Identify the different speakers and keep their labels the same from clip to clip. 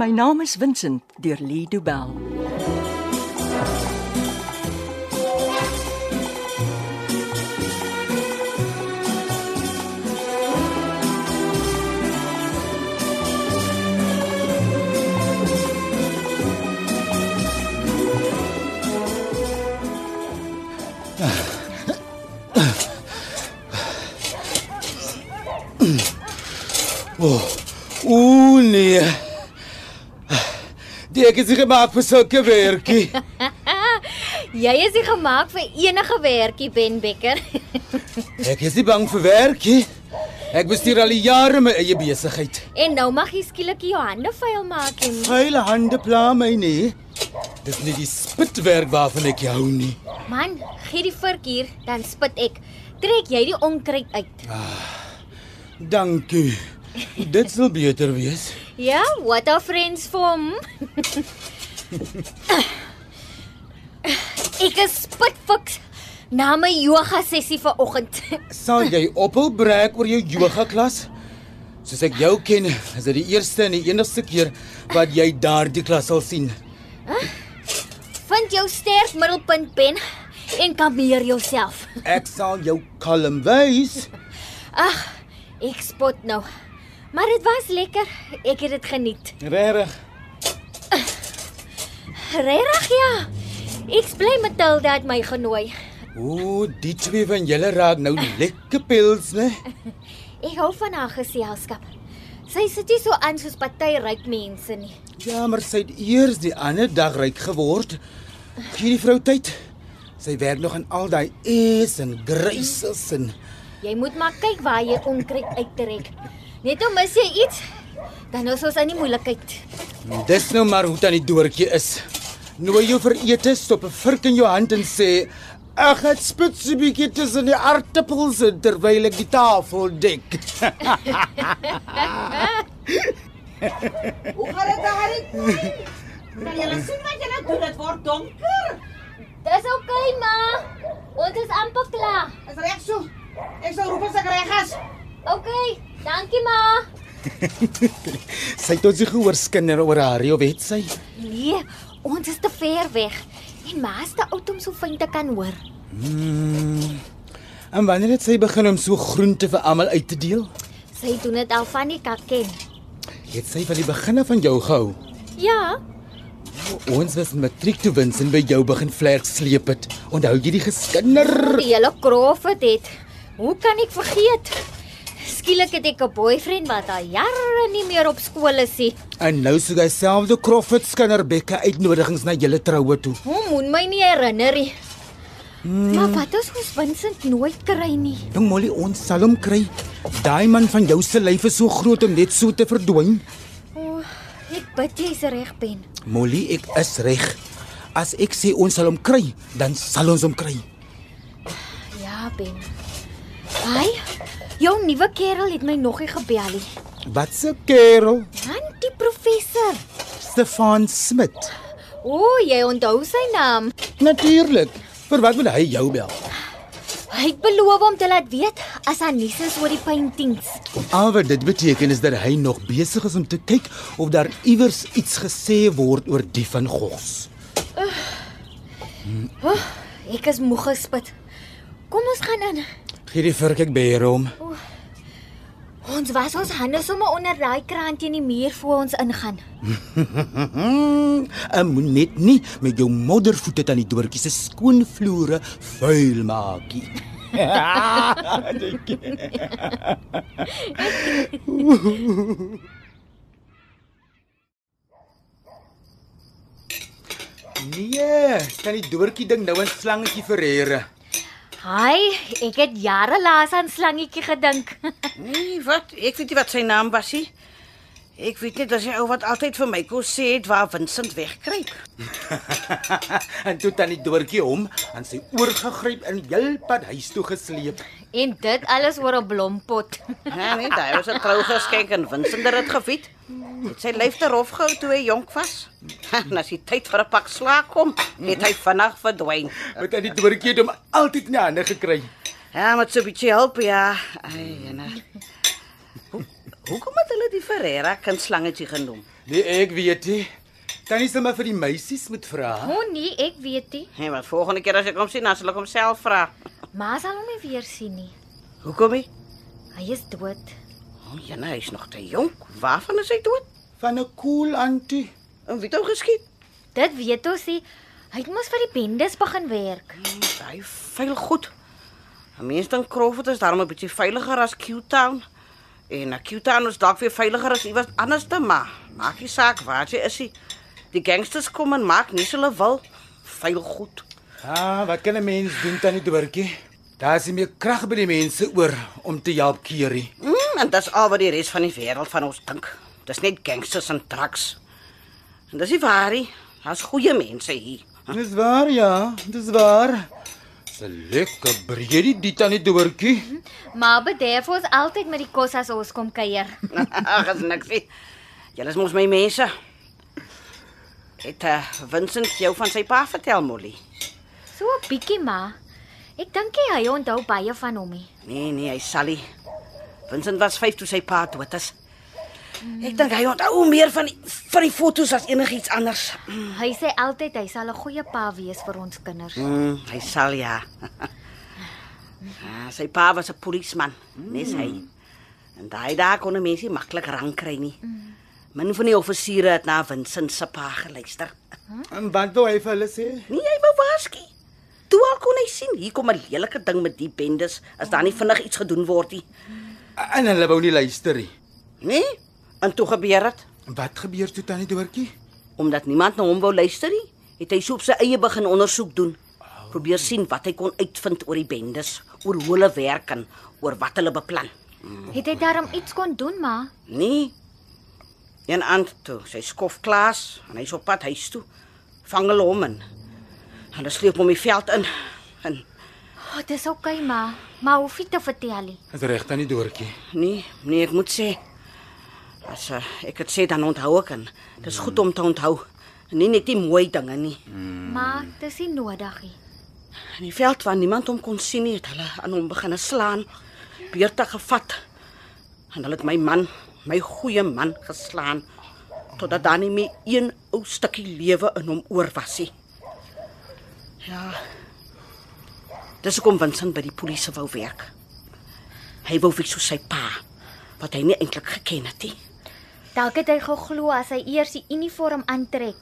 Speaker 1: My naam is Vincent deur Lee Du Bell.
Speaker 2: Ooh Oh, nee. Die ek is nie gemaak vir sulke werkie.
Speaker 3: Jy is nie gemaak vir enige werkie, Ben Becker.
Speaker 2: Ek is nie bang vir werkie. Ek bestuur al die jare my eie besigheid.
Speaker 3: en nou mag jy skielik jou hande vuil maak en
Speaker 2: Vuile hande pla my nie. Dis nie die spitwerk waarvan ek hou nie.
Speaker 3: man, gee die vurk hier, dan spit ek. Trek jy die onkruid uit.
Speaker 2: Dankie. Dit sal beter wees.
Speaker 3: Ja, what are friends for? hm? ek is spitfiks na my yoga sessie vanoggend.
Speaker 2: Sal jy ophou breek oor jou yoga klas? Soos ek jou ken, is dit die eerste en die enigste keer wat jy daardie klas sal sien.
Speaker 3: Vind jou sterk middelpunt, Ben, en kalmeer jouself.
Speaker 2: Ek sal jou kalm wys.
Speaker 3: Ag, ek spot nou. Maar dit was lekker. Ek het dit geniet.
Speaker 2: Regtig.
Speaker 3: Regtig ja. Ek is bly Matilda het my genooi.
Speaker 2: Ooh, die twee van julle raak nou lekker pils, né?
Speaker 3: Ek hou van haar geselskap. Sy sit nie so aan soos party ryk mense nie.
Speaker 2: Ja, maar sy het eers die ander dag ryk geword. Gee die vrou tyd. Sy werk nog aan al daai e's en graces en
Speaker 3: Jy moet maar kyk waar jy onkruid uittrek. Net om mis jy iets, dan is ons in die moeilikheid.
Speaker 2: en dis nou maar hoe tannie Doortjie is. Nooi jou vir ete, stop 'n vurk in jou hand en sê: "Ag, dit spits 'n bietjie tussen die aartappels in terwyl ek die tafel dek."
Speaker 4: Hoe gaan dit daar uit? Kan jy sien wat jy nou doen? Dit word donker.
Speaker 3: Dis oukei, okay, ma. Ons is amper klaar.
Speaker 4: Is reg so. Ek sal roep as ek reg is.
Speaker 3: Okay, dankie ma.
Speaker 2: Sy het ons nie gehoor skinder oor haar of het sy?
Speaker 3: Nee, ons is te ver weg. En ma's te oud om so fyn te kan hoor.
Speaker 2: Hmm. En wanneer het sy begin om so groente vir almal uit te deel?
Speaker 3: Sy doen dit al van die kakken.
Speaker 2: Het sy van die begin af van jou gehou?
Speaker 3: Ja,
Speaker 2: Ons was in matriek toe wins en by jou begin vlerk sleep het. Onthou jy die geskinder?
Speaker 3: die hele Crawford het. Hoe kan ek vergeet? Skielik het ek 'n boyfriend wat al jare nie meer op skool is nie.
Speaker 2: En nou soek hy selfde Crawford skinderbekke uitnodigings na julle troue toe.
Speaker 3: Hoe moet my nie herinner nie. Hmm. Maar wat as ons Vincent nooit kry nie?
Speaker 2: Jong Molly, ons sal hom kry. Daai man van jou se lyf is so groot om net so te verdwyn.
Speaker 3: O, ek bid jy's reg, Ben.
Speaker 2: Molly, ek is reg. As ek sê ons sal hom kry, dan sal ons hom kry.
Speaker 3: Ja, Ben. Ai, jou nuwe kerel het my nog nie gebel nie.
Speaker 2: Wat se kerel?
Speaker 3: Dan die professor.
Speaker 2: Stefan Smit.
Speaker 3: O, jy onthou sy naam.
Speaker 2: Natuurlik. Vir wat moet hy jou bel?
Speaker 3: Hy het beloof om te laat weet as daar nuus is oor die paintings.
Speaker 2: Al wat dit beteken is dat hy nog besig is om te kyk of daar iewers iets gesê word oor die van Gogh.
Speaker 3: Oh, ek is moeg gespit. Kom ons gaan in.
Speaker 2: Gee die vir kyk by hom.
Speaker 3: Ons was ons hande sommer onder daai kraan teen die muur voor ons ingaan.
Speaker 2: Hmm, En moet net nie met jou moddervoete aan die doortjie se skoon vloere vuil maakie. nee, kan die doortjie ding nou 'n slangetjie verheer.
Speaker 3: Hi, ek het jare laas aan slangetjie gedink.
Speaker 4: Nee, wat? Ek weet nie wat sy naam was nie. Ek weet net dat sy ou wat altyd vir my kos sê het waar Vincent wegkruip.
Speaker 2: en toe tannie Doortjie hom aan sy oor gegryp en heelpad huis toe gesleep.
Speaker 3: en dit alles oor 'n blompot.
Speaker 4: Ja, nee, daai was 'n trougeskenk en Vincent het dit geviet. Het sy lyf te rof gehou toe hy jonk was. Ha, En as die tyd vir 'n pak slaag kom, het hy vinnig verdwyn.
Speaker 2: Want tannie Doortjie het hom altyd in die hande gekry.
Speaker 4: Ja, met so 'n bietjie help ja. Ai, jene. eh, Hoe, Hoekom het hulle die Ferreira kindslangetjie genoem?
Speaker 2: Nee, ek weet nie. Tannie sê maar vir die meisies moet vra.
Speaker 3: Hoe nie, ek weet nie.
Speaker 4: Nee, maar volgende keer as ek hom sien, dan sal ek homself vra.
Speaker 3: Maar sal hom nie weer sien nie.
Speaker 4: Hoekom nie?
Speaker 3: Hy is dood.
Speaker 4: O, Jana is nog te jonk. Waarvan is hy dood?
Speaker 2: Van 'n cool antie.
Speaker 4: En wie het hom geskiet?
Speaker 3: Dit weet ons nie. Hy het mos vir die bendes begin werk.
Speaker 4: Hy veil goed. 'n Mens dink Crawford is daarom 'n bietjie veiliger as Q-Town. En na Q-Town is dalk weer veiliger as iewers anders te maar. Maak nie saak waar jy is nie. Die gangsters kom en maak nie hulle wil. Veil goed.
Speaker 2: Ah, wat kan 'n mens doen tannie Doortjie? Daar is nie meer krag by die mense oor om te help keer nie.
Speaker 4: Mm, en dis al wat die res van die wêreld van ons dink. Dis net gangsters en drugs. En dis nie waar nie. Daar's goeie mense hier.
Speaker 2: Dis waar ja, dis waar. Se lekker breedie die tannie Doortjie.
Speaker 3: Maar bederf ons altyd met die kos as ons kom kuier.
Speaker 4: Ag, is niks nie. Julle is mos my mense. Het uh, Vincent jou van sy pa vertel, Molly?
Speaker 3: So 'n bietjie maar. Ek dink nie hy onthou baie van hom nie.
Speaker 4: Nee, nee, hy sal nie. Vincent was 5 toe sy pa dood is. Ek dink hy onthou meer van die, van die fotos as enigiets anders.
Speaker 3: Hy sê altyd hy sal 'n goeie pa wees vir ons kinders.
Speaker 4: Mm, hy sal ja. ja sy pa was 'n polisieman, nes hy. En daai dae kon 'n mens nie maklik rank kry nie. Min van die offisiere het na Vincent se pa geluister.
Speaker 2: En wat wou hy vir hulle sê?
Speaker 4: Nee, hy wou waarsku. Toe al kon hy sien hier kom 'n lelike ding met die bendes as daar nie vinnig iets gedoen word nie.
Speaker 2: En hulle wou nie luister nie.
Speaker 4: Nee? En toe gebeur dit.
Speaker 2: Wat gebeur toe tannie Doortjie?
Speaker 4: Omdat niemand na hom wou luister nie, het hy so op sy eie begin ondersoek doen. Probeer sien wat hy kon uitvind oor die bendes, oor hoe hulle werk en oor wat hulle beplan.
Speaker 3: Het hy daarom iets kon doen maar?
Speaker 4: Nee. En aan toe, sy skof Klaas en hy's op pad huis toe. Vang hulle hom in. En hulle sleep hom die veld in. En
Speaker 3: O, oh, dis oukei okay, maar. Maar hoef nie te vertel nie.
Speaker 2: Is reg tannie Doortjie.
Speaker 4: nee, nee, ek moet sê as uh, ek dit sê dan onthou ek en dis goed om te onthou. En nie net die mooi dinge nie.
Speaker 3: Mm. Maar dis nie nodig nie.
Speaker 4: In die veld waar niemand hom kon sien nie, het hulle aan hom begine slaan, beurte gevat. En hulle het my man, my goeie man geslaan totdat daar nie meer een ou stukkie lewe in hom oor was nie. Ja. Dis hoekom Vincent by die polisie wou werk. Hy wou vir so sy pa wat hy nie eintlik geken het nie.
Speaker 3: Dalk het hy geglo as hy eers die uniform aantrek,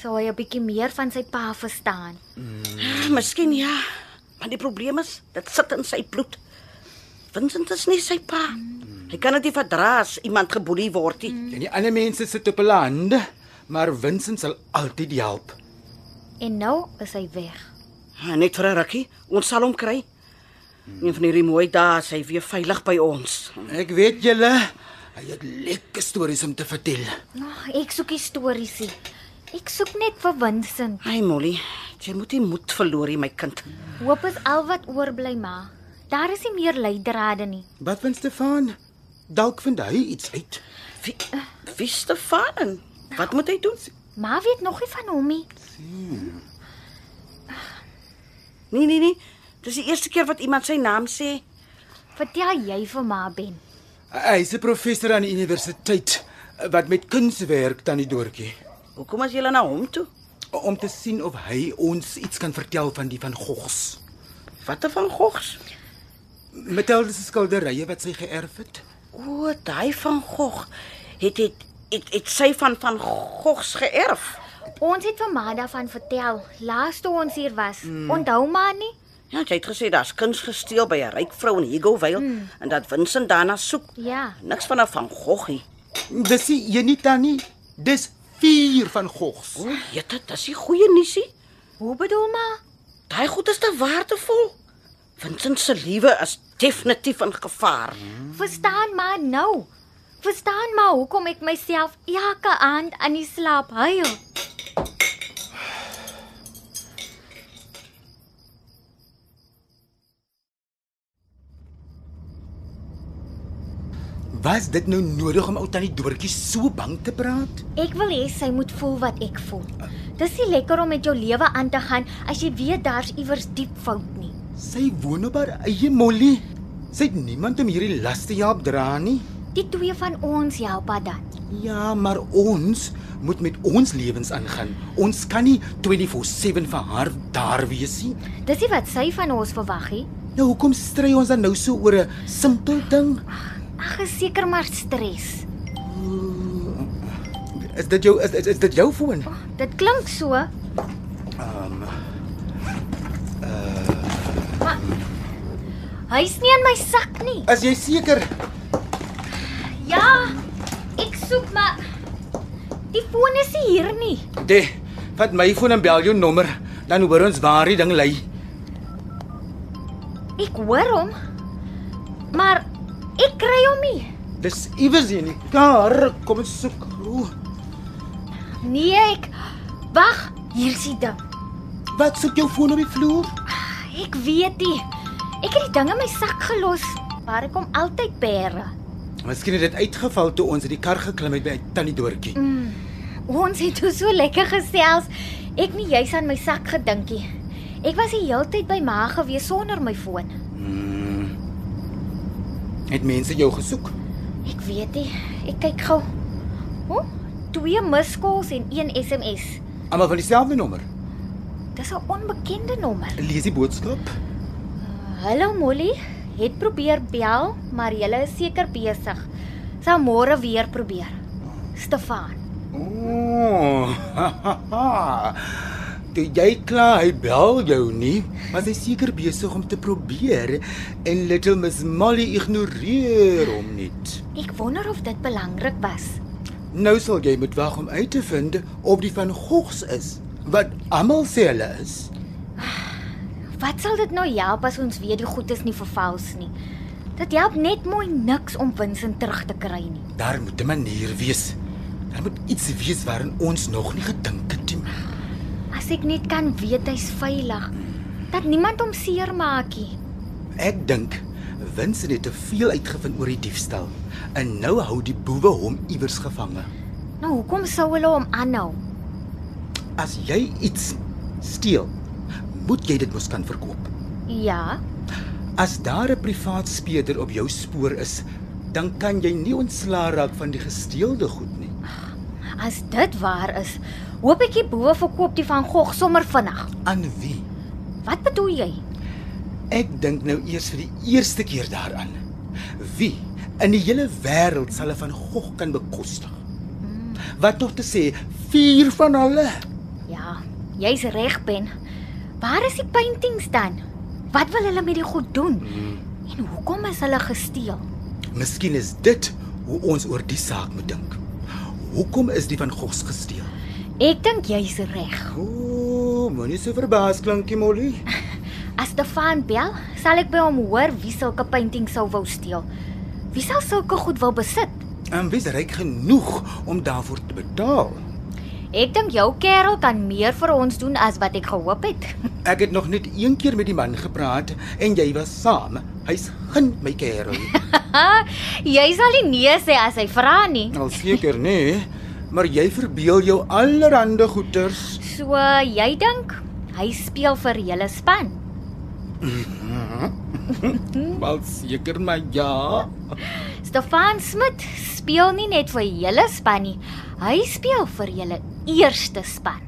Speaker 3: sou hy 'n bietjie meer van sy pa verstaan.
Speaker 4: Miskien ja, maar die probleem is dit sit in sy bloed. Vincent is nie sy pa. Hy kan dit nie verdra as iemand geboelie word nie.
Speaker 2: En die ander mense sit op hulle hande, maar Vincent sal altyd help.
Speaker 3: En nou is hy weg.
Speaker 4: Ah, Net vir 'n rukkie, ons sal hom kry. Een van hierdie mooi dae is hy weer veilig by ons.
Speaker 2: Ek weet julle, hy het lekker stories om te vertel.
Speaker 3: Oh, ek soek nie stories nie. Ek soek net vir Vincent.
Speaker 4: Ai Molly, jy moet nie moed verloor nie my kind.
Speaker 3: Hoop is al wat oorbly maar. Daar is nie meer leidrade nie.
Speaker 2: Wat van Stefan? Dalk vind hy iets uit.
Speaker 4: Wie wie Stefan? en Wat moet hy doen?
Speaker 3: Maar weet nog nie van hom nie.
Speaker 4: Nee nee nee, dis die eerste keer wat iemand sy naam sê.
Speaker 3: Vertel jy vir ma Ben.
Speaker 2: Hy's 'n professor aan die universiteit wat met kuns werk tannie Doortjie
Speaker 4: Hoekom as jy na hom toe?
Speaker 2: om te sien of hy ons iets kan vertel van die van Gogs.
Speaker 4: Watter van Gogs?
Speaker 2: Met al die skilderye wat sy geërf het.
Speaker 4: O, daai van Gog. Het het het, het sy van van Gogs geërf.
Speaker 3: Ons het vir ma daarvan vertel laas toe ons hier was. Mm. Onthou maar nie.
Speaker 4: Ja, jy het gesê daar's kuns gesteel by 'n ryk vrou in Higgovale mm. en dat Vincent daarna soek.
Speaker 3: Ja.
Speaker 4: Niks van 'n van Goggie.
Speaker 2: Dis nie een nie tannie, dis vier van Gogs.
Speaker 4: O, jette, dis die goeie nuusie.
Speaker 3: Hoe bedoel ma?
Speaker 4: Daai goed is te waardevol. Vincent se lewe is definitief in gevaar.
Speaker 3: Verstaan maar nou. Verstaan maar hoekom ek myself elke aand aan die slaap huil.
Speaker 2: Was dit nou nodig om ou tannie Doortjie so bang te praat?
Speaker 3: Ek wil hê sy moet voel wat ek voel. Dis nie lekker om met jou lewe aan te gaan as jy weet daar's iewers diep fout nie.
Speaker 2: Sy woon op haar eie molly. Sy het niemand om hierdie las te help dra nie.
Speaker 3: Die twee van ons help haar dan.
Speaker 2: Ja, maar ons moet met ons lewens aangaan. Ons kan nie 24/7 vir haar daar wees nie.
Speaker 3: Dis nie wat sy van ons verwag nie.
Speaker 2: Nou hoekom stry ons dan nou so oor 'n simpel ding?
Speaker 3: Ag, is seker maar stres.
Speaker 2: Is dit jou is, is, is dit jou foon?
Speaker 3: Dit klink so. Ehm. Um, uh maar, Hy's nie in my sak nie.
Speaker 2: Is jy seker?
Speaker 3: Ja. Ek soek maar die foon is nie hier nie.
Speaker 2: De, vat my foon en bel jou nommer, dan hoor ons waar die ding lê.
Speaker 3: Ek hoor hom. Maar ek kry hom nie.
Speaker 2: Dis iewers hier nie. Daar, kom ons soek. O,
Speaker 3: Nee, ek Wag, hier's die ding.
Speaker 2: wat soek jou foon op die vloer?
Speaker 3: Ek weet nie. Ek het die ding in my sak gelos waar ek hom altyd bære.
Speaker 2: Miskien het dit uitgeval toe ons uit die kar geklim het by Tannie Doortjie.
Speaker 3: Ons het toe so lekker gesels. Ek nie juis aan my sak gedinkie. Ek was die heeltyd by ma gewees sonder my foon.
Speaker 2: Het mense jou gesoek?
Speaker 3: Ek weet nie. Ek kyk gou. O, oh, twee miscalls en een SMS.
Speaker 2: Almal van dieselfde nommer.
Speaker 3: Dis 'n onbekende nommer.
Speaker 2: Lees die boodskap.
Speaker 3: Hallo Molly, het probeer bel, maar jy is seker besig. Sal môre weer probeer. Stefan.
Speaker 2: Ooh. Toe jy klaar hy bel jou nie, was hy seker besig om te probeer en little Miss Molly ignoreer hom net.
Speaker 3: Ek wonder of dit belangrik was.
Speaker 2: Nou sal jy moet wag om uit te vind of die van Gogs is wat almal sê hulle is.
Speaker 3: Wat sal dit nou help as ons weet die goed is nie vervals nie? Dit help net mooi niks om Vincent terug te kry nie.
Speaker 2: Daar moet 'n manier wees. Daar moet iets wees waarin ons nog nie gedink het nie.
Speaker 3: As ek net kan weet hy's veilig, dat niemand hom seermaak nie.
Speaker 2: Ek dink Vincent het te veel uitgevind oor die diefstal en nou hou die boewe hom iewers gevange.
Speaker 3: Nou hoekom sou hulle hom aanhou?
Speaker 2: As jy iets steel, moet jy dit mos kan verkoop.
Speaker 3: Ja,
Speaker 2: As daar 'n privaat speurder op jou spoor is, dan kan jy nie ontslaa raak van die gesteelde goed nie.
Speaker 3: as dit waar is, hoop ek die boe verkoop die van Gogh sommer vinnig.
Speaker 2: Aan wie?
Speaker 3: Wat bedoel jy?
Speaker 2: Ek dink nou eers vir die eerste keer daaraan. Wie in die hele wêreld sal 'n van Gogh kan bekostig? Wat tog te sê, vier van hulle.
Speaker 3: Ja, jy's reg Ben. Waar is die paintings dan? Wat wil hulle met die goed doen? En hoekom is hulle gesteel?
Speaker 2: Miskien is dit hoe ons oor die saak moet dink. Hoekom is die van Goghs gesteel?
Speaker 3: Ek dink jy's reg.
Speaker 2: Ooh, moenie so verbaas klinkie Molly.
Speaker 3: As Stefan bel, sal ek by hom hoor wie sulke painting sou wou steel. Wie sal sulke goed wil besit?
Speaker 2: En wie's Ehm, ryk genoeg om daarvoor te betaal?
Speaker 3: Ek dink jou kerel kan meer vir ons doen as wat ek gehoop het.
Speaker 2: Ek het nog net een keer met die man gepraat en jy was saam. Hy's geen my kerel.
Speaker 3: jy sal nie nee sê as hy vra nie.
Speaker 2: Al seker nê, maar jy verbeel jou allerhande goeters.
Speaker 3: So jy dink hy speel vir julle span.
Speaker 2: Wel seker maar ja.
Speaker 3: Stefan Smit speel nie net vir julle span nie. Hy speel vir julle eerste span.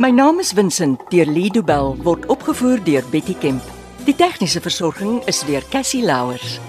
Speaker 1: My naam is Vincent deur Lido Bell word opgevoer deur Betty Kemp. Die tegniese versorging is deur Cassie Louers.